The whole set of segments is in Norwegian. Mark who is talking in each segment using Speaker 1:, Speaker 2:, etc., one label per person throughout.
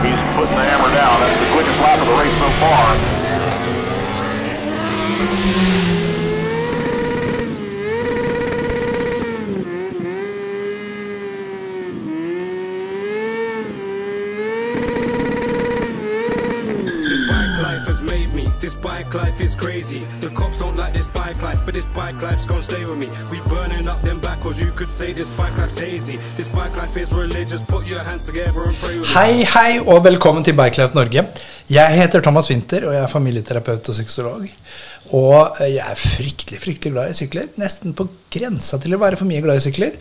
Speaker 1: putting the hammer down. That's the quickest lap of the race so far.
Speaker 2: This bike life has made me. This bike life is crazy. The cops don't like this bike life, but this bike life's gonna stay with me. We burning up them backwards. You could say this bike life's hazy. This bike life is religious. Put your hands together and pray with me.
Speaker 3: Hei, hei, og velkommen til Bikelife Norge. Jeg heter Thomas Winther, og jeg er familieterapeut og sexolog. Og eh, jeg er fryktelig fryktelig glad i sykler. Nesten på grensa til å være for mye glad i sykler.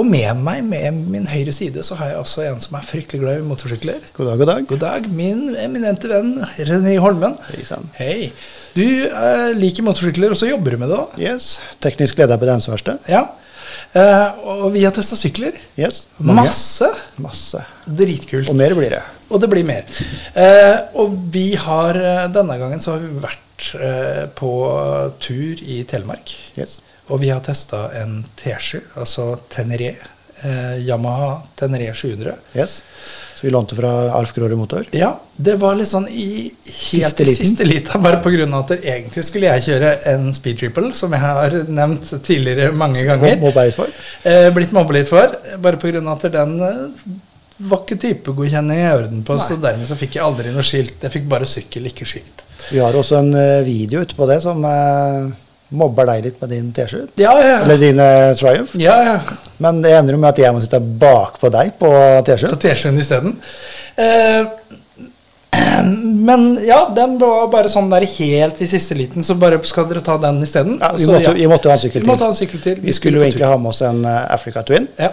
Speaker 3: Og med meg, med min høyre side, så har jeg også en som er fryktelig glad i motorsykler.
Speaker 4: God dag, god dag.
Speaker 3: God dag, min eminente venn René Holmen.
Speaker 4: Hei sann.
Speaker 3: Hei. Du eh, liker motorsykler, og så jobber du med det òg?
Speaker 4: Yes. Teknisk leder på Downs-verkstedet.
Speaker 3: Ja. Eh, og vi har testa sykler.
Speaker 4: Yes. Mange.
Speaker 3: Masse.
Speaker 4: Masse.
Speaker 3: Dritkult.
Speaker 4: Og mer blir det.
Speaker 3: Og det blir mer. Eh, og vi har eh, denne gangen så har vi vært eh, på tur i Telemark.
Speaker 4: Yes.
Speaker 3: Og vi har testa en T7, altså Tenere. Eh, Yamaha Tenere 700.
Speaker 4: Yes. Så vi lånte fra Alf Gråre Motor.
Speaker 3: Ja, det var litt sånn i helt
Speaker 4: Siste
Speaker 3: i
Speaker 4: liten.
Speaker 3: siste lita, bare på grunn av at det egentlig skulle jeg kjøre en Speed Triple, som jeg har nevnt tidligere mange ganger.
Speaker 4: Mob- mobba litt for.
Speaker 3: Eh, blitt mobba litt for, bare på grunn av at den eh, var ikke typegodkjenning i orden på, så dermed så fikk jeg aldri noe skilt. Jeg fikk bare sykkel, ikke skilt.
Speaker 4: Vi har også en eh, video ute på det som eh, mobber deg litt med din T-skjorte.
Speaker 3: Ja, ja.
Speaker 4: Eller din eh, Triumph.
Speaker 3: ja, ja.
Speaker 4: Men det ender jo med at jeg må sitte bakpå deg på
Speaker 3: På
Speaker 4: T-skjorte.
Speaker 3: T-skjorten isteden. Eh, men ja, den var bare sånn der helt i siste liten, så bare skal dere ta den isteden?
Speaker 4: Ja, vi,
Speaker 3: Så,
Speaker 4: måtte- vi måtte ha en
Speaker 3: Vi
Speaker 4: sykkel
Speaker 3: måtte ha
Speaker 4: til.
Speaker 3: en sykkel til.
Speaker 4: Vi skulle jo
Speaker 3: på tur.
Speaker 4: egentlig ha med oss en eh, Africa Twin,
Speaker 3: Ja.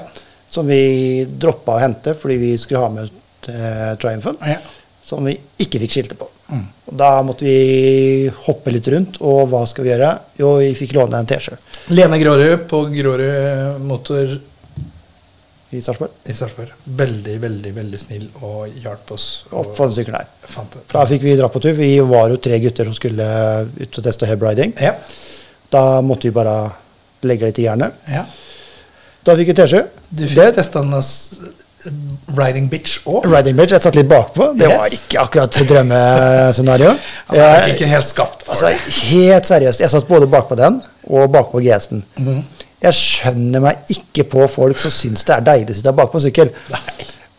Speaker 4: som vi droppa å hente fordi vi skulle ha med eh, Triumphen.
Speaker 3: Ja.
Speaker 4: som vi ikke fikk skilte på.
Speaker 3: Mm.
Speaker 4: Og da måtte vi hoppe litt rundt, og hva skal vi gjøre? Jo, vi fikk låne en T-skjorte
Speaker 3: Lene Grårud på Grårud Motor
Speaker 4: i Sarpsborg.
Speaker 3: i Sarpsborg. Veldig, veldig veldig snill og hjalp oss.
Speaker 4: Opp for den sykkelen her.
Speaker 3: fant det.
Speaker 4: Da fikk vi dra på tur. Vi var jo tre gutter som skulle ut og teste hebriding.
Speaker 3: Ja,
Speaker 4: Da måtte vi bare legge det til jernet.
Speaker 3: ja.
Speaker 4: Da fikk vi T-skjorte.
Speaker 3: Du
Speaker 4: Det-
Speaker 3: fikk testa den hos eh, Riding Bitch òg.
Speaker 4: Riding Bridge, jeg satt litt bakpå. Det
Speaker 3: Yes.
Speaker 4: var ikke akkurat drømmescenario.
Speaker 3: Han er nok ikke helt skapt for
Speaker 4: Altså,
Speaker 3: det.
Speaker 4: helt seriøst. Jeg satt både bakpå den og bakpå GS-en.
Speaker 3: Mhm.
Speaker 4: Jeg skjønner meg ikke på folk som syns det er deilig å sitte bakpå en sykkel.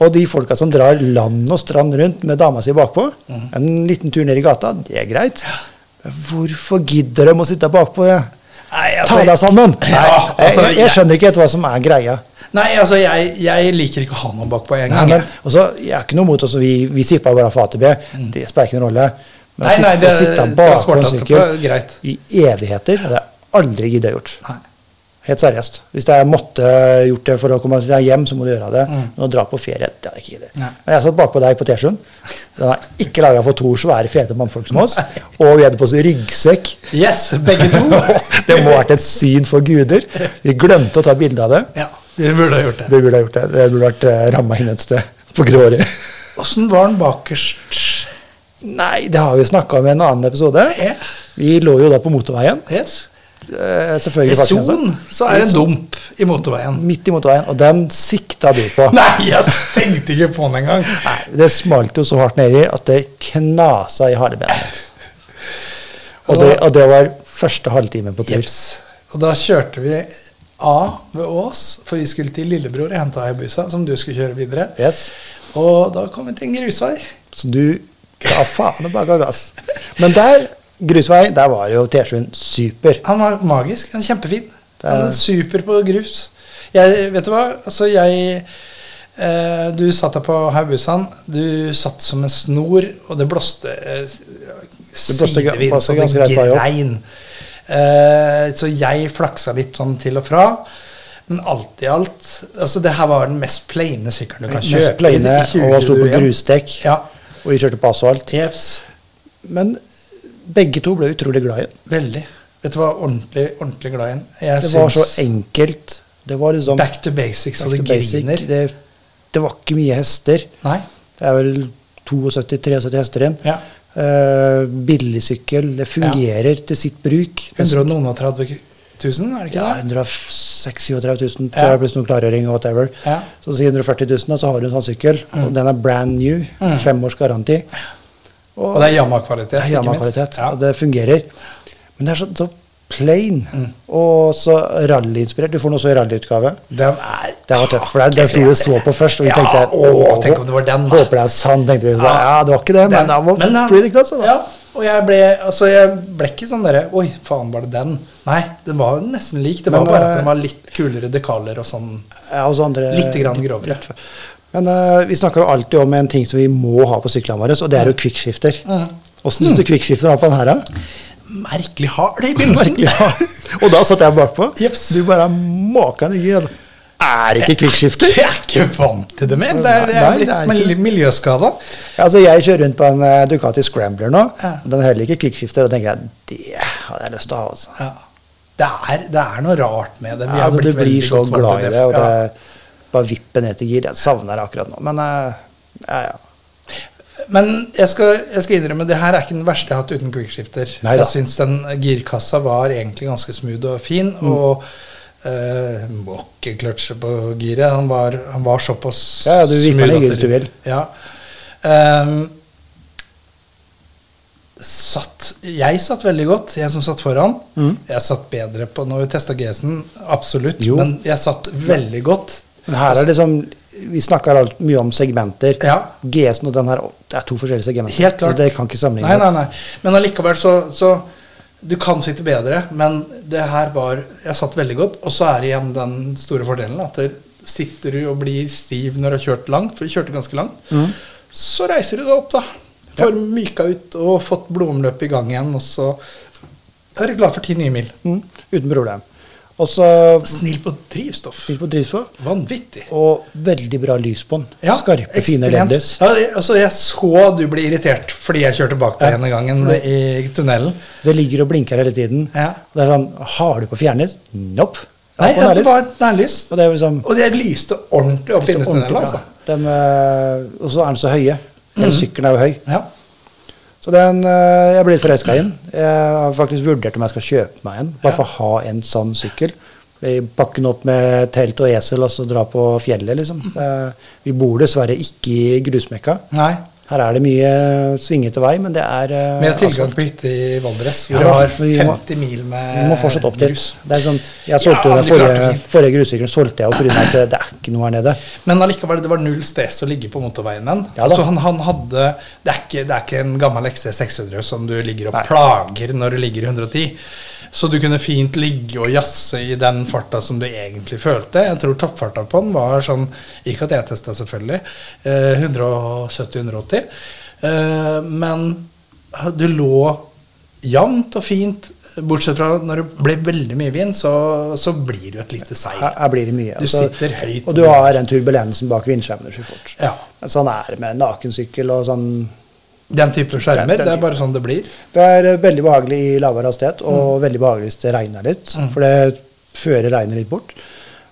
Speaker 4: Og de folka som drar land og strand rundt med dama si bakpå,
Speaker 3: Mhm.
Speaker 4: en liten tur ned i gata, det er greit. Men Hvorfor gidder de å sitte bakpå det?
Speaker 3: Nei,
Speaker 4: Ta deg sammen! Nei,
Speaker 3: Altså, Ja, altså,
Speaker 4: jeg, jeg skjønner ikke helt hva som er greia.
Speaker 3: Nei, altså, jeg, jeg liker ikke å ha noen bakpå en
Speaker 4: Nei,
Speaker 3: gang.
Speaker 4: men, også, jeg er ikke noe mot oss, vi, vi sippa bare fra AtB. Det spiller ikke noen rolle. Men
Speaker 3: Mm. Nei, nei,
Speaker 4: å sitte,
Speaker 3: det-
Speaker 4: å sitte bakpå
Speaker 3: transport-
Speaker 4: en sykkel
Speaker 3: er greit.
Speaker 4: i evigheter hadde jeg aldri giddet gjort.
Speaker 3: Nei.
Speaker 4: Helt seriøst. Hvis jeg måtte gjort det for å komme deg hjem, så må du gjøre det. Men å dra på ferie, det hadde jeg ikke giddet.
Speaker 3: Mm. Nei.
Speaker 4: Men jeg satt bakpå deg på T-skjorten. Den er ikke laga for to svære, fete mannfolk som oss. Og vi hadde på oss ryggsekk.
Speaker 3: Yes, begge to.
Speaker 4: Det må ha vært et syn for guder. Vi glemte å ta bilde av det.
Speaker 3: Ja, vi burde ha gjort det.
Speaker 4: Det burde ha gjort det. Det burde vært ramma inn et sted på Grårud.
Speaker 3: Åssen var den bakerst?
Speaker 4: Nei, det har vi snakka om i en annen episode.
Speaker 3: Ja.
Speaker 4: Vi lå jo da på motorveien.
Speaker 3: Yes.
Speaker 4: eh,
Speaker 3: I
Speaker 4: Selvfølgelig
Speaker 3: Son
Speaker 4: altså.
Speaker 3: så er det en
Speaker 4: I Son,
Speaker 3: dump i motorveien.
Speaker 4: Midt i motorveien, og den sikta du på.
Speaker 3: Nei, jeg tenkte ikke på den engang.
Speaker 4: Nei, Det smalt jo så hardt nedi at det knasa i halebenet. Og det, og det var første halvtimen på tur.
Speaker 3: Jeps. Og da kjørte vi A ved Ås, for vi skulle til lillebror og hente Hayabusa, som du skulle kjøre videre.
Speaker 4: Yes.
Speaker 3: Og da kom vi til en grusvei.
Speaker 4: Så du ga faen og bare ga gass. Men der, grusvei, der var jo T-skjorten super.
Speaker 3: Han var magisk. Han er kjempefin.
Speaker 4: Det er-
Speaker 3: Han er super på grus. Jeg, vet du hva? Altså, jeg eh, Du satt deg på Haubusan. Du satt som en snor, og det blåste eh,
Speaker 4: blåste ga-
Speaker 3: sidevind
Speaker 4: blåste
Speaker 3: så det
Speaker 4: ganske greit vei opp.
Speaker 3: grein. Eh, så jeg flaksa litt sånn til og fra. Men alt i alt altså Det her var den mest plaine sykkelen du kan kjøpe.
Speaker 4: Mest pløyende
Speaker 3: i- i
Speaker 4: og sto på
Speaker 3: 2021.
Speaker 4: grusdekk.
Speaker 3: Ja.
Speaker 4: Og vi kjørte på asfalt.
Speaker 3: Jeps.
Speaker 4: Men begge to ble utrolig glad i den.
Speaker 3: Veldig. Vet du hva? Ordentlig, ordentlig glad i den. Jeg
Speaker 4: Det var så
Speaker 3: syns-
Speaker 4: enkelt. Det var liksom
Speaker 3: Back to basics, og
Speaker 4: back
Speaker 3: det
Speaker 4: to basic.
Speaker 3: griner.
Speaker 4: Det, det var ikke mye hester.
Speaker 3: Nei.
Speaker 4: Det er vel 72-73 hester igjen.
Speaker 3: Ja.
Speaker 4: Eh, billigsykkel. Det fungerer til sitt bruk. Det,
Speaker 3: 130 000, er det ikke
Speaker 4: Ja,
Speaker 3: det?
Speaker 4: 136 000 tror
Speaker 3: Ja.
Speaker 4: jeg, pluss noe klargjøring og whatever.
Speaker 3: Ja. Mm.
Speaker 4: Så si 140 000, og så har du en sånn sykkel. Og den er brand new. Fem års garanti.
Speaker 3: Og det er Yamaha-kvalitet.
Speaker 4: Det er
Speaker 3: Mm. ikke minst.
Speaker 4: Yamaha-kvalitet,
Speaker 3: Ja.
Speaker 4: og det fungerer. Men det er så, så plain
Speaker 3: Mm.
Speaker 4: og så rallyinspirert. Du får noe så i rallyutgave.
Speaker 3: Den er
Speaker 4: Det var tøft, for det, den sto vi og så på først. Og vi
Speaker 3: Ja,
Speaker 4: tenkte
Speaker 3: åh, tenk om det var den, da.
Speaker 4: Håper det er sann, tenkte vi. Så,
Speaker 3: Ja.
Speaker 4: ja, det var ikke det, men den var
Speaker 3: den-
Speaker 4: pretty altså. good. Så, da.
Speaker 3: Ja, og jeg ble, altså, jeg ble ikke sånn derre Oi, faen, var det den? Nei, den var jo nesten lik. Det var
Speaker 4: Men,
Speaker 3: bare at
Speaker 4: eh,
Speaker 3: den var litt kulere dekaler og sånn.
Speaker 4: Ja, og så andre,
Speaker 3: Litt grann grovere.
Speaker 4: Men eh, vi snakker jo alltid om en ting som vi må ha på syklene våre, og det er jo quickskifter.
Speaker 3: Mm.
Speaker 4: Åssen syns du quickskifter var på den her, da?
Speaker 3: Merkelig hard i begynnelsen.
Speaker 4: Merkelig. og da satt jeg bakpå.
Speaker 3: Jeps.
Speaker 4: Du bare Makan ikke. altså. Er ikke quickskifter?
Speaker 3: Jeg er ikke vant til det mer. Det er, jeg
Speaker 4: Nei,
Speaker 3: er
Speaker 4: det
Speaker 3: blitt
Speaker 4: er
Speaker 3: mil-
Speaker 4: ikke-
Speaker 3: miljøskada.
Speaker 4: Ja, Altså, jeg kjører rundt på en eh, Ducati Scrambler nå.
Speaker 3: Ja.
Speaker 4: Den heller ikke quickskifter. Og tenker jeg, det hadde jeg lyst til å ha. altså.
Speaker 3: Ja. Det, er, det er noe rart med det. Vi
Speaker 4: Ja,
Speaker 3: er
Speaker 4: altså, du
Speaker 3: blitt veldig
Speaker 4: blir så
Speaker 3: godt vant
Speaker 4: glad i
Speaker 3: til
Speaker 4: det, og
Speaker 3: Ja.
Speaker 4: det bare vipper ned til gir. Jeg savner det akkurat nå, men eh, ja, ja.
Speaker 3: Men jeg skal, jeg skal innrømme, det her er ikke den verste jeg har hatt uten quickskifter. Jeg
Speaker 4: Neida.
Speaker 3: syns den girkassa var egentlig ganske smooth og fin,
Speaker 4: Mm.
Speaker 3: og eh, må ikke kløtsje på giret. Han var, han var såpass
Speaker 4: Ja, ja, du vipper
Speaker 3: smooth
Speaker 4: ned
Speaker 3: at
Speaker 4: giret hvis
Speaker 3: det-
Speaker 4: du vil.
Speaker 3: Ja. Ehm, satt, jeg satt veldig godt, jeg som satt foran. Jeg satt bedre på når vi testa GS-en, absolutt,
Speaker 4: Mm. Jo.
Speaker 3: men jeg satt veldig godt.
Speaker 4: Men her er det liksom Vi snakker alt, mye om segmenter.
Speaker 3: Ja.
Speaker 4: GS-en og den her det er to forskjellige segmenter.
Speaker 3: Helt klart.
Speaker 4: Og Det kan ikke
Speaker 3: Nei,
Speaker 4: sammenlignes.
Speaker 3: nei, nei. Men allikevel så, så Du kan sitte bedre, men det her var Jeg satt veldig godt. Og så er det igjen den store fordelen at det sitter du og blir stiv når du har kjørt langt, for vi kjørte ganske langt,
Speaker 4: Mm.
Speaker 3: så reiser du deg opp, da. Får myka ut og fått blodomløpet i gang igjen, og så er du glad for ti nye mil.
Speaker 4: Mm, uten problem. Og så
Speaker 3: Snill på drivstoff.
Speaker 4: fyr på drivstoff.
Speaker 3: Vanvittig.
Speaker 4: Og veldig bra lys på den.
Speaker 3: Ja,
Speaker 4: Skarpe, fine
Speaker 3: ekstremt.
Speaker 4: lenders.
Speaker 3: Ja, jeg- altså, jeg så du ble irritert fordi jeg kjørte bak deg
Speaker 4: Ja.
Speaker 3: denne gangen i tunnelen.
Speaker 4: Det ligger og blinker hele tiden.
Speaker 3: Ja.
Speaker 4: Og det er sånn, Har du på fjerner? Nope. Ja,
Speaker 3: Nei,
Speaker 4: og
Speaker 3: ja,
Speaker 4: det
Speaker 3: det
Speaker 4: er
Speaker 3: var
Speaker 4: litt-
Speaker 3: et nærlys.
Speaker 4: Og det er liksom
Speaker 3: Og det lyste ordentlig opp inni
Speaker 4: ordentlig
Speaker 3: tunnelen.
Speaker 4: bra.
Speaker 3: Altså. Mm.
Speaker 4: Dem, eh, og så er den så høye. Den sykkelen er jo høy.
Speaker 3: Ja.
Speaker 4: Så den, eh, jeg er blitt forelska i den. Jeg har faktisk vurdert om jeg skal kjøpe meg en, bare for å ha en sånn sykkel. I Pakke den opp med telt og esel og så dra på fjellet, liksom.
Speaker 3: Mm.
Speaker 4: Eh, vi bor dessverre ikke i grusmekka.
Speaker 3: Nei.
Speaker 4: Her er det mye svingete vei, men det er eh,
Speaker 3: Med tilgang
Speaker 4: asfalt.
Speaker 3: på hytte i Valdres,
Speaker 4: Ja,
Speaker 3: hvor du har
Speaker 4: vi må-
Speaker 3: 50 mil med
Speaker 4: Vi må fortsatt opp dit.
Speaker 3: grus.
Speaker 4: Det er sånn, jeg
Speaker 3: Ja,
Speaker 4: solgte jo
Speaker 3: men
Speaker 4: den
Speaker 3: det klarte
Speaker 4: forrige,
Speaker 3: vi.
Speaker 4: forrige grussykkelen solgte jeg jo pga. at det- det er ikke noe her nede.
Speaker 3: Men allikevel, det var null stress å ligge på motorveien den.
Speaker 4: Ja da.
Speaker 3: så han, han hadde det er, ikke, det er ikke en gammel XC 600 som du ligger og
Speaker 4: Nei.
Speaker 3: plager når du ligger i 110. Så du kunne fint ligge og jazze i den farta som du egentlig følte. Jeg tror toppfarta på den var sånn Ikke at jeg testa, selvfølgelig. Eh, 170-180. Eh, men du lå jevnt og fint. Bortsett fra når det ble veldig mye vind, så, så blir du et lite seil.
Speaker 4: Her, her blir det mye.
Speaker 3: Du
Speaker 4: altså.
Speaker 3: sitter høyt.
Speaker 4: Og du har den turbulensen bak vindskjermene så fort.
Speaker 3: Ja.
Speaker 4: Men Sånn er det med nakensykkel og sånn.
Speaker 3: Den type skjermer.
Speaker 4: Den- den
Speaker 3: Det er
Speaker 4: type.
Speaker 3: bare sånn det blir.
Speaker 4: Det er eh, veldig behagelig i lavere hastighet,
Speaker 3: Mm.
Speaker 4: og veldig behagelig hvis det regner litt. For det fører regnet litt bort.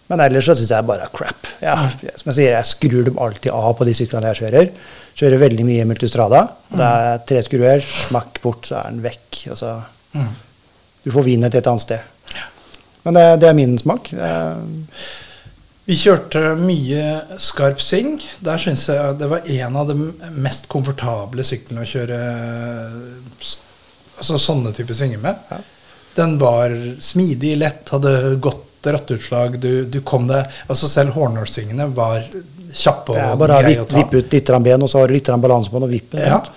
Speaker 4: Men ellers så syns jeg bare er crap. Ja,
Speaker 3: Mm.
Speaker 4: som jeg sier, jeg skrur dem alltid av på de syklene jeg kjører. Kjører veldig mye multistrada.
Speaker 3: Mm.
Speaker 4: Det er tre skruer, smakk bort, så er den vekk. Og så
Speaker 3: Mm.
Speaker 4: du får vinet til et annet sted. Men det, det er min smak. Eh,
Speaker 3: Vi kjørte mye skarp sving. Der syns jeg det var en av de mest komfortable syklene å kjøre s- altså sånne typer svinger med. Den var smidig, lett, hadde godt rattutslag. Du, du kom deg altså Selv Hornor-svingene var kjappe
Speaker 4: Det er
Speaker 3: og
Speaker 4: bare å
Speaker 3: greie å
Speaker 4: vippe
Speaker 3: ta.
Speaker 4: vipp ut litt grann ben, og så har du litt grann balanse på den, og vippe den
Speaker 3: Ja.
Speaker 4: ut.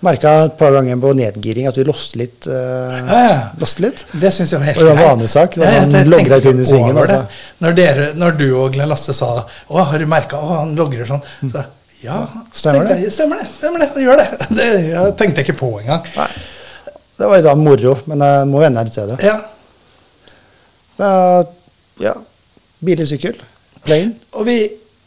Speaker 4: Merka et par ganger på nedgiring at du loste litt. eh,
Speaker 3: Ja, ja.
Speaker 4: loste litt.
Speaker 3: Det syns jeg var helt
Speaker 4: Og det var vanesak, da han
Speaker 3: jeg
Speaker 4: logret
Speaker 3: tenkte
Speaker 4: inn i svingen,
Speaker 3: over det.
Speaker 4: altså.
Speaker 3: Når, dere, når du og Glenn Lasse sa Å, har du merka Å, han logrer sånn. Så, ja,
Speaker 4: Stemmer
Speaker 3: tenkte Jeg, stemmer det. Stemmer det. Han gjør det. det. Jeg tenkte jeg ikke på engang.
Speaker 4: Det var litt av moro, men jeg må venne meg litt til det.
Speaker 3: Ja.
Speaker 4: det er, ja, Billig sykkel. Plain.
Speaker 3: Og vi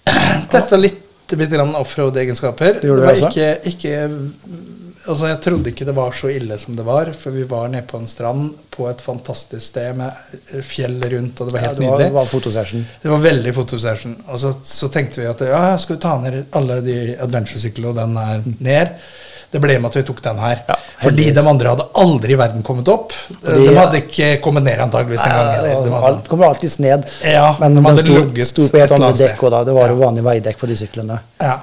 Speaker 3: testa litt, litt grann offroad-egenskaper.
Speaker 4: Det gjorde
Speaker 3: var
Speaker 4: vi også.
Speaker 3: ikke, ikke Altså, jeg trodde ikke det var så ille som det var, for vi var nede på en strand på et fantastisk sted med fjell rundt, og det var
Speaker 4: Ja,
Speaker 3: helt
Speaker 4: det var,
Speaker 3: nydelig.
Speaker 4: var fotosession.
Speaker 3: Det var veldig fotosession. Og så, så tenkte vi at ja, skal vi ta ned alle de adventure-syklene, og den er ned. Det ble med at vi tok den her.
Speaker 4: Ja.
Speaker 3: Fordi
Speaker 4: Heldigvis.
Speaker 3: de andre hadde aldri i verden kommet opp.
Speaker 4: De-
Speaker 3: de hadde ikke kommet ned antageligvis en gang. Eller. De hadde,
Speaker 4: Alt kommer alltids ned.
Speaker 3: Ja,
Speaker 4: men
Speaker 3: de
Speaker 4: den
Speaker 3: hadde
Speaker 4: sto,
Speaker 3: ligget
Speaker 4: sto på
Speaker 3: et
Speaker 4: helt
Speaker 3: eller
Speaker 4: andre
Speaker 3: annet
Speaker 4: dekk.
Speaker 3: sted.
Speaker 4: Og da, det var jo vanlig veidekk på de syklene.
Speaker 3: ja.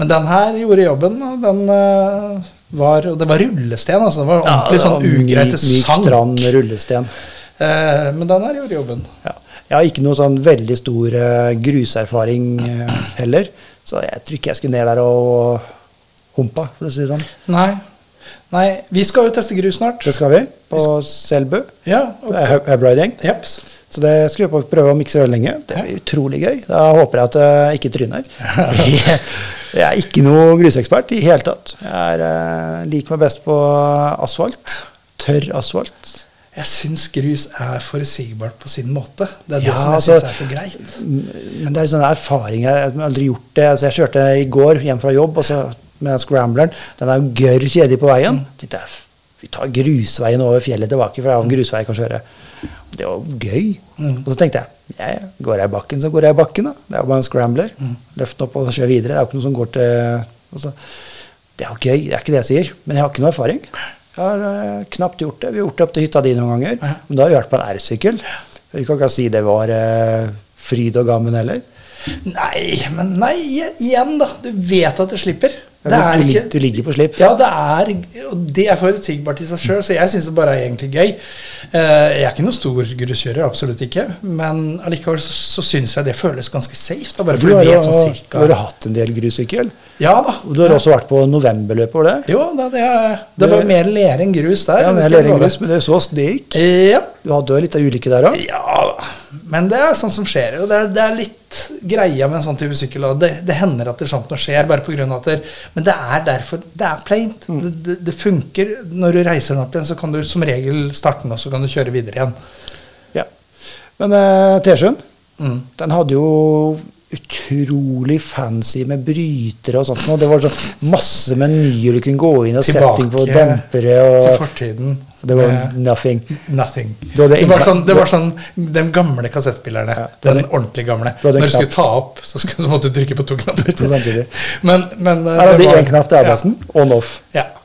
Speaker 3: Men den her gjorde jobben. og Den eh, var Og det var rullesten, altså. Det var ordentlig
Speaker 4: det var
Speaker 3: sånn ugreit.
Speaker 4: myk- myk
Speaker 3: Det sank.
Speaker 4: strand rullesten.
Speaker 3: Eh, men den her gjorde jobben.
Speaker 4: Ja. Jeg har ikke noe sånn veldig stor eh, gruserfaring eh, heller, så jeg tror ikke jeg skulle ned der og humpa, for å si det sånn.
Speaker 3: Nei. Nei, vi skal jo teste grus snart.
Speaker 4: Det skal vi, på Selbu.
Speaker 3: Ja. og-
Speaker 4: eh, hub- Hubriding.
Speaker 3: Jeps.
Speaker 4: Så det skal vi prøve å mikse veldig lenge. Det er utrolig gøy. Da håper jeg at jeg ikke tryner. Jeg jeg er ikke noe grusekspert i hele tatt. Jeg er, eh, liker meg best på asfalt. Tørr asfalt.
Speaker 3: Jeg syns grus er forutsigbart på sin måte. Det er
Speaker 4: Ja,
Speaker 3: det som jeg
Speaker 4: altså-
Speaker 3: syns er så greit.
Speaker 4: Men det er sånn erfaring her. Jeg har aldri gjort det. Altså, jeg kjørte i går hjem fra jobb og så med den scrambleren. Den er jo gørr kjedelig på veien. Tenkte jeg, "F- vi tar grusveien over fjellet tilbake, for det er jo en grusvei jeg kan kjøre. Det var jo gøy. Og så tenkte jeg ja, ja, går jeg i bakken, så går jeg i bakken. da. Det er jo bare en scrambler. Løft den opp og kjør videre. Det er jo ikke noe som går til og så, Det er jo gøy, det er ikke det jeg sier. Men jeg har ikke noe erfaring. Jeg har eh, knapt gjort det. Vi har gjort det opp til hytta di noen ganger. Men da har vi vært på en R-sykkel. Så vi kan ikke si det var eh, fryd og gammen heller.
Speaker 3: Nei, men nei, igjen, da. Du vet at det slipper.
Speaker 4: Ja,
Speaker 3: Det
Speaker 4: men
Speaker 3: er
Speaker 4: du
Speaker 3: ikke
Speaker 4: lig- du ligger på slipp.
Speaker 3: Ja, det er, og det er forutsigbart i seg sjøl, så jeg syns det bare er egentlig gøy. Eh, Jeg er ikke noen stor gruskjører, absolutt ikke, men allikevel så, så syns jeg det føles ganske safe. Da, bare
Speaker 4: Du
Speaker 3: for
Speaker 4: har
Speaker 3: du
Speaker 4: jo
Speaker 3: vet sånn
Speaker 4: du har jo
Speaker 3: cirka
Speaker 4: hatt en del grussykkel.
Speaker 3: Ja da.
Speaker 4: Og du har også vært på novemberløpet, var det?
Speaker 3: Jo, da, det, er, det var mer lere enn grus der.
Speaker 4: Ja, men
Speaker 3: det skal
Speaker 4: jeg
Speaker 3: jeg
Speaker 4: lærer
Speaker 3: love.
Speaker 4: engelsk, men det er så det gikk.
Speaker 3: Ja.
Speaker 4: Du hadde jo litt av ulykke der òg.
Speaker 3: Ja, men det er sånn som skjer. Og det er, det er litt greia med en sånn type sykkel. Og det, det hender at det sånt noe skjer, bare på grunn av at det, Men det er derfor Det er plaint.
Speaker 4: Mm.
Speaker 3: Det, det, det funker. Når du reiser den opp igjen, så kan du som regel starte den, og så kan du kjøre videre igjen.
Speaker 4: Ja. Men uh, Tesjøen,
Speaker 3: Mm.
Speaker 4: den hadde jo utrolig fancy med brytere og sånt. Og det var sånn masse menyer du kunne gå inn og setting på dempere
Speaker 3: til
Speaker 4: og
Speaker 3: fortiden.
Speaker 4: Det var
Speaker 3: med
Speaker 4: nothing.
Speaker 3: Nothing.
Speaker 4: Du hadde
Speaker 3: Det var,
Speaker 4: egentlig-
Speaker 3: sånn, det var sånn de gamle kassettspillerne.
Speaker 4: Ja, du
Speaker 3: den
Speaker 4: hadde-
Speaker 3: ordentlig gamle.
Speaker 4: du hadde en
Speaker 3: Når du skulle
Speaker 4: knapp.
Speaker 3: ta opp, så, skulle, så måtte du trykke på to knapper.
Speaker 4: To samtidig.
Speaker 3: Men, men eh,
Speaker 4: Her
Speaker 3: det
Speaker 4: hadde de
Speaker 3: var-
Speaker 4: én knapp til ABS-en, on off.
Speaker 3: Ja, ja.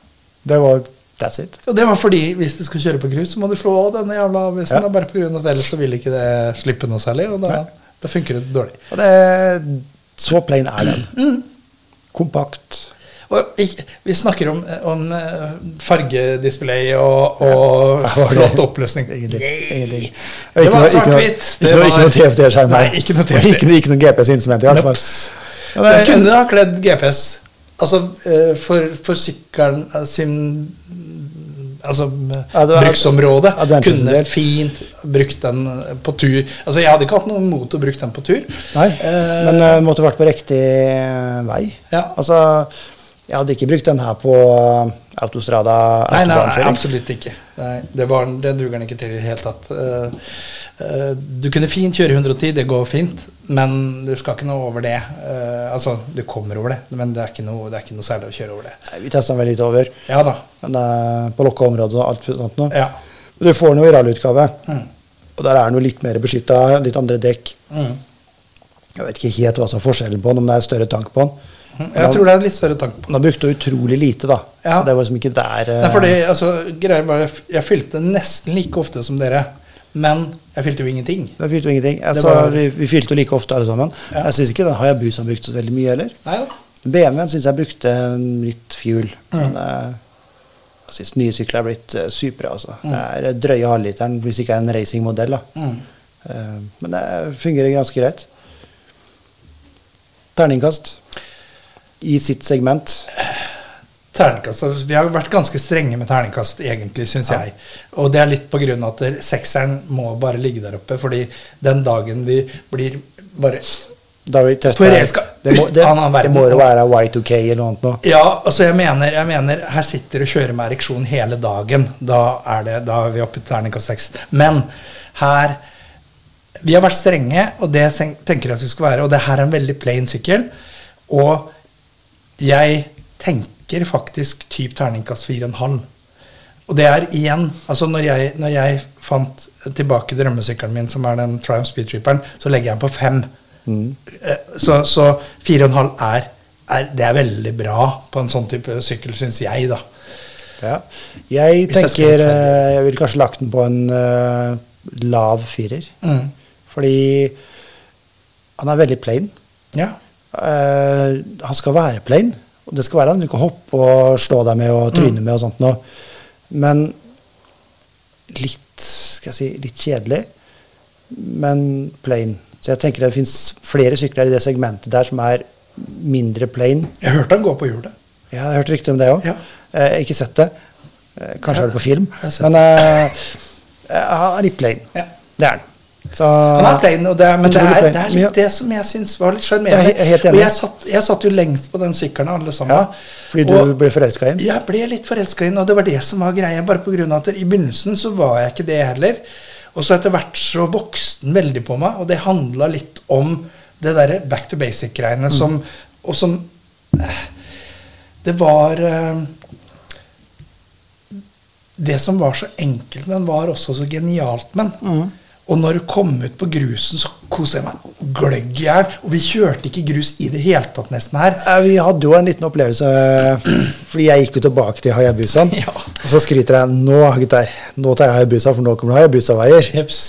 Speaker 4: Det var That's it.
Speaker 3: Og det var fordi hvis du skal kjøre på grus, så må du slå av denne jævla avisen.
Speaker 4: Ja.
Speaker 3: da, Bare på grunn av at ellers så vil ikke det slippe noe særlig, og da,
Speaker 4: Nei.
Speaker 3: da funker det dårlig.
Speaker 4: Og det, så plain er den.
Speaker 3: Mm.
Speaker 4: Kompakt.
Speaker 3: Og vi, vi snakker om, om eh, fargedisplay og, og
Speaker 4: Ja, var det-
Speaker 3: flott oppløsning.
Speaker 4: Ingenting,
Speaker 3: Yay!
Speaker 4: ingenting.
Speaker 3: Det var
Speaker 4: Ikke noe- ikke noe-
Speaker 3: svart-hvitt.
Speaker 4: Ikke noe- ikke noe TFT-skjerm her.
Speaker 3: Nei, ikke noe TFT.
Speaker 4: Ikke, noe- ikke noe GPS instrument, i hvert fall.
Speaker 3: Nops.
Speaker 4: Ja,
Speaker 3: Den
Speaker 4: det er-
Speaker 3: kunne ha kledd GPS. Altså eh, for, for sykkelen eh, sin Altså eh,
Speaker 4: Ad- ad-
Speaker 3: bruksområdet
Speaker 4: adventure sin
Speaker 3: kunne
Speaker 4: del.
Speaker 3: fint brukt den eh, på tur. Altså Jeg hadde ikke hatt noe imot å bruke den på tur.
Speaker 4: Nei,
Speaker 3: Eh,
Speaker 4: men uh, måtte vært på riktig vei.
Speaker 3: Ja.
Speaker 4: Altså, jeg hadde ikke brukt den her på eh, autostrada.
Speaker 3: Nei, nei, nei,
Speaker 4: autobankjøring.
Speaker 3: absolutt ikke. Nei, det, var, det duger den ikke til i det hele tatt. Eh, eh, du kunne fint kjøre 110, det går fint, men du skal ikke noe over det. Eh, altså, du kommer over det, men det er ikke noe, det er ikke noe særlig å kjøre over det.
Speaker 4: Nei, Vi testa den vel litt over,
Speaker 3: Ja da.
Speaker 4: men eh, på lukka områder og alt sånt noe.
Speaker 3: Ja.
Speaker 4: Men Du får den jo i rallyutgave,
Speaker 3: Mm.
Speaker 4: og der er den jo litt mer beskytta, litt andre dekk.
Speaker 3: Mm.
Speaker 4: Jeg vet ikke helt hva som er forskjellen på den, om det er større tank på den.
Speaker 3: Mm, Jeg tror det er litt større tanke på det.
Speaker 4: Men da brukte hun utrolig lite, da.
Speaker 3: Ja.
Speaker 4: Så det var liksom ikke der eh,
Speaker 3: Nei, fordi, altså, greia var, jeg, f- jeg fylte nesten like ofte som dere, men jeg fylte jo ingenting.
Speaker 4: Da fylte vi ingenting. Jeg
Speaker 3: Det
Speaker 4: sa-
Speaker 3: var-
Speaker 4: vi, vi fylte jo like ofte alle sammen.
Speaker 3: Ja.
Speaker 4: Jeg syns ikke den har jeg bu som brukte så veldig mye heller.
Speaker 3: Nei da.
Speaker 4: BMW-en syns jeg brukte litt fuel.
Speaker 3: Mm.
Speaker 4: Men eh, jeg syns nye sykler er blitt eh, supre. Altså. Det er eh, drøye halvliteren hvis det ikke er en racingmodell. da.
Speaker 3: Mm.
Speaker 4: Eh, men det fungerer ganske greit. Terningkast i sitt segment.
Speaker 3: Terningkast, altså, Vi har vært ganske strenge med terningkast, egentlig, syns jeg. Og det er litt på grunn av at der- sekseren må bare ligge der oppe, fordi den dagen vi blir bare
Speaker 4: Da vi testa
Speaker 3: Torell skal
Speaker 4: det, må, det,
Speaker 3: ut av den
Speaker 4: det
Speaker 3: verden.
Speaker 4: må jo være Y2K eller noe annet nå.
Speaker 3: Ja, altså jeg mener, jeg mener her sitter og kjører med ereksjon hele dagen. Da er, det, da er vi oppe i terningkast seks. Men her Vi har vært strenge, og det sen- tenker jeg at vi skal være. Og det her er en veldig plain sykkel. Og jeg tenker faktisk typ terningkast 4,5. Og det er igjen altså når jeg, når jeg fant tilbake drømmesykkelen min, som er den Triumph Speed Tripperen, så legger jeg den på 5. Eh, Så, så 4,5 er, er Det er veldig bra på en sånn type sykkel, syns jeg, da.
Speaker 4: Ja. Jeg
Speaker 3: Hvis jeg skal være
Speaker 4: tenker
Speaker 3: ferdig.
Speaker 4: eh, jeg ville kanskje lagt den på en eh, lav firer.
Speaker 3: Mm.
Speaker 4: Fordi han er veldig plain.
Speaker 3: Ja.
Speaker 4: Eh, han skal være plain. Og det skal være han. Du kan hoppe og slå deg med og
Speaker 3: Mm.
Speaker 4: tryne med og sånt noe. Men litt skal jeg si, litt kjedelig, men plain. Så jeg tenker det fins flere sykler i det segmentet der som er mindre plain.
Speaker 3: Jeg hørte han gå på hjulet.
Speaker 4: Jeg har hørt rykter om det òg.
Speaker 3: Ja.
Speaker 4: Jeg har ikke sett det. Eh, Kanskje har det på film.
Speaker 3: Jeg har sett
Speaker 4: Men eh, han er litt plain.
Speaker 3: Ja.
Speaker 4: Det er han. Så,
Speaker 3: Han er plain, og det er, men det
Speaker 4: Utrolig
Speaker 3: er,
Speaker 4: plain.
Speaker 3: det er litt
Speaker 4: Ja.
Speaker 3: det som jeg syns var litt
Speaker 4: Jeg
Speaker 3: sjarmerende.
Speaker 4: er he- helt enig.
Speaker 3: Og jeg satt, jeg satt jo lengst på den sykkelen alle
Speaker 4: Ja,
Speaker 3: sammen.
Speaker 4: fordi du
Speaker 3: og
Speaker 4: ble forelska i ham?
Speaker 3: jeg ble litt forelska i den, og det var det som var greia. Bare på grunn av at I begynnelsen så var jeg ikke det heller. Og så etter hvert så vokste den veldig på meg, og det handla litt om det derre back to basic-greiene
Speaker 4: Mm.
Speaker 3: som Og som eh, Det var eh, det som var så enkelt, men var også så genialt med den.
Speaker 4: Mm.
Speaker 3: Og når du kom ut på grusen, så koste jeg meg gløgg i hjel. Og vi kjørte ikke grus i det hele tatt, nesten her.
Speaker 4: Eh, Vi hadde jo en liten opplevelse, eh, fordi jeg gikk jo tilbake til Hayabusaen.
Speaker 3: Ja.
Speaker 4: Og så skryter jeg nå, gutter, nå tar jeg Hayabusa, for nå kommer det Hayabusa-veier.
Speaker 3: Jeps.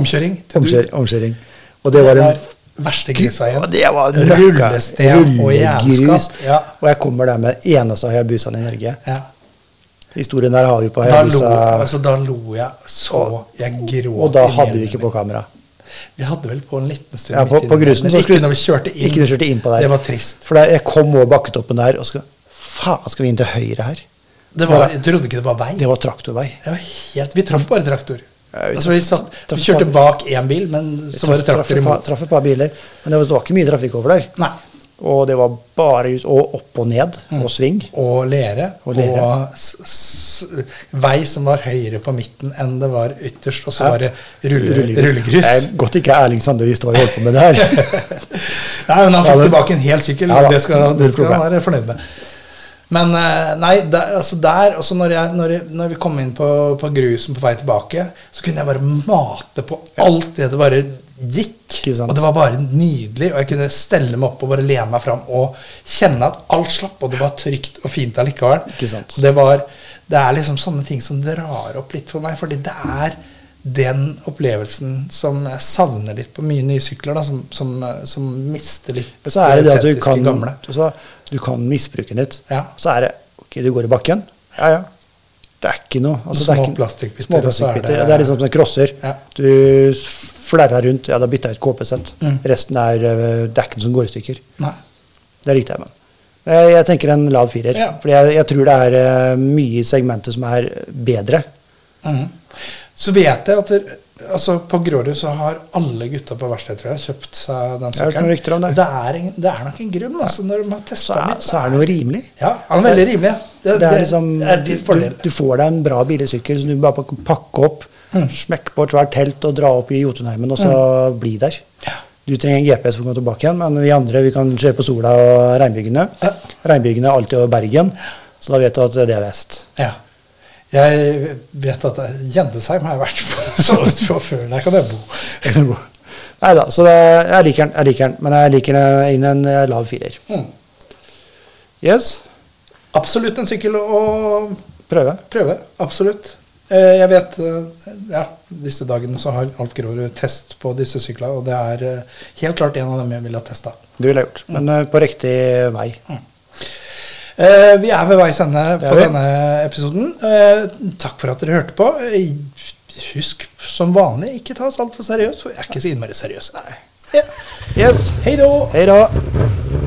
Speaker 3: Omkjøring. til du.
Speaker 4: Omkjør, omkjøring. Og det
Speaker 3: Det
Speaker 4: var
Speaker 3: var
Speaker 4: en
Speaker 3: verste grusveien.
Speaker 4: Og det var en møkka.
Speaker 3: Rullesten og
Speaker 4: Rullegrus.
Speaker 3: jævelskap. Ja.
Speaker 4: Og jeg kommer der med eneste Hayabusaen i Norge.
Speaker 3: Ja.
Speaker 4: Historien der har vi på
Speaker 3: Da, lo,
Speaker 4: Hayabusa.
Speaker 3: altså, da lo jeg så Jeg gråt.
Speaker 4: Og da
Speaker 3: i
Speaker 4: hadde vi
Speaker 3: hjelmen
Speaker 4: ikke
Speaker 3: min.
Speaker 4: på kamera.
Speaker 3: Vi hadde vel på en liten stund.
Speaker 4: Ja, på,
Speaker 3: midt
Speaker 4: på
Speaker 3: inni
Speaker 4: grusen
Speaker 3: der,
Speaker 4: så
Speaker 3: men ikke når vi kjørte inn.
Speaker 4: Ikke når vi kjørte inn på der.
Speaker 3: Det var trist.
Speaker 4: For da- jeg kom over bakketoppen der og skal, faen, skal vi inn til høyre her?
Speaker 3: Det var, jeg trodde ikke det var vei.
Speaker 4: Det var traktorvei.
Speaker 3: Det var helt, vi traff bare traktor.
Speaker 4: Ja, vi
Speaker 3: altså, vi,
Speaker 4: traff-
Speaker 3: satt,
Speaker 4: traff-
Speaker 3: vi kjørte bak én bil, men så var det
Speaker 4: Traff-
Speaker 3: traktor
Speaker 4: traff et par-
Speaker 3: imot.
Speaker 4: Traff et par biler. Men det var, det var ikke mye trafikk over der.
Speaker 3: Nei.
Speaker 4: Og det var bare ut, og opp og ned,
Speaker 3: Mm.
Speaker 4: og sving.
Speaker 3: Og lere.
Speaker 4: Og
Speaker 3: Og,
Speaker 4: lere.
Speaker 3: s s vei som var høyere på midten enn det var ytterst. Og
Speaker 4: Ja.
Speaker 3: så var det rulle, rullegrus.
Speaker 4: Det er Godt ikke Erling Sande visste hva vi holdt på med der.
Speaker 3: Nei, men han
Speaker 4: Ja,
Speaker 3: fikk
Speaker 4: men-
Speaker 3: tilbake en hel sykkel,
Speaker 4: Ja da,
Speaker 3: og det skal,
Speaker 4: null
Speaker 3: det skal han
Speaker 4: problem.
Speaker 3: være fornøyd med. Men eh, nei, der, altså der Og så når, jeg- når, jeg- når vi kom inn på, på grusen på vei tilbake, så kunne jeg bare mate på alt det det bare gikk.
Speaker 4: Ikke sant.
Speaker 3: Og det var bare nydelig, og jeg kunne stelle meg opp og bare lene meg fram og kjenne at alt slapp, og det var trygt og fint allikevel.
Speaker 4: Ikke sant.
Speaker 3: Så det var Det er liksom sånne ting som drar opp litt for meg, fordi det er den opplevelsen som jeg savner litt på mye nye sykler, da, som, som, eh, som mister litt
Speaker 4: Men så er det det at du
Speaker 3: autentiske
Speaker 4: kan,
Speaker 3: gamle.
Speaker 4: så, du kan misbruke den litt.
Speaker 3: Ja.
Speaker 4: Så er det Ok, du går i bakken. Ja, ja. Det er ikke noe. altså, det er
Speaker 3: Små
Speaker 4: ikke-
Speaker 3: plastikkbiter,
Speaker 4: Små
Speaker 3: og så er det-
Speaker 4: plastikkbiter. Og det er liksom som crosser.
Speaker 3: Ja.
Speaker 4: Du s- flerrer rundt. Ja, da bytter jeg ut KP-sett.
Speaker 3: Mm.
Speaker 4: Resten er eh, Det er ikke noe som går i stykker.
Speaker 3: Nei.
Speaker 4: Det likte jeg med. Jeg, jeg tenker en lav firer.
Speaker 3: Ja.
Speaker 4: Fordi jeg, jeg tror det er eh, mye i segmentet som er bedre.
Speaker 3: Mhm. Så vet jeg at det, altså på Grårud så har alle gutta på verkstedet tror jeg, kjøpt seg den
Speaker 4: Jeg har hørt noen rykter om
Speaker 3: sykkelen.
Speaker 4: det.
Speaker 3: Det er, en, det er nok en grunn. Altså, når de har
Speaker 4: Så
Speaker 3: testa
Speaker 4: er,
Speaker 3: litt,
Speaker 4: så er det noe rimelig.
Speaker 3: Ja, han er veldig rimelig. Det,
Speaker 4: Det er liksom,
Speaker 3: er til fordel.
Speaker 4: du, du får deg en bra bilesykkel som du bare pak- pakke opp,
Speaker 3: Mm.
Speaker 4: smekke på et svært telt og dra opp i Jotunheimen, og så bli der.
Speaker 3: Ja.
Speaker 4: Du trenger en GPS for å komme tilbake igjen, men vi andre vi kan kjøre på Sola og Regnbygdene.
Speaker 3: Ja.
Speaker 4: Regnbygdene er alltid over Bergen, så da vet du at det er vest.
Speaker 3: Ja. Jeg vet at Gjendesheim har jeg vært på sovet på før. Der kan jeg bo.
Speaker 4: Nei da, så det, jeg liker den, jeg liker den, men jeg liker den inn en eh, lav firer.
Speaker 3: Mm.
Speaker 4: Yes,
Speaker 3: Absolutt en sykkel å
Speaker 4: prøve.
Speaker 3: prøve. Absolutt. Eh, Jeg vet eh, ja, disse dagene så har Alf Grårud test på disse syklene, og det er eh, helt klart en av dem jeg ville ha testa.
Speaker 4: Det ville jeg gjort, men eh, på riktig vei.
Speaker 3: Eh, vi er ved veis ende
Speaker 4: Det
Speaker 3: på
Speaker 4: er vi.
Speaker 3: denne episoden. Eh, takk for at dere hørte på. Eh, husk som vanlig, ikke ta oss altfor seriøst, for vi er ikke så innmari seriøse. Ja.
Speaker 4: Yes,
Speaker 3: Hei da!
Speaker 4: hei da.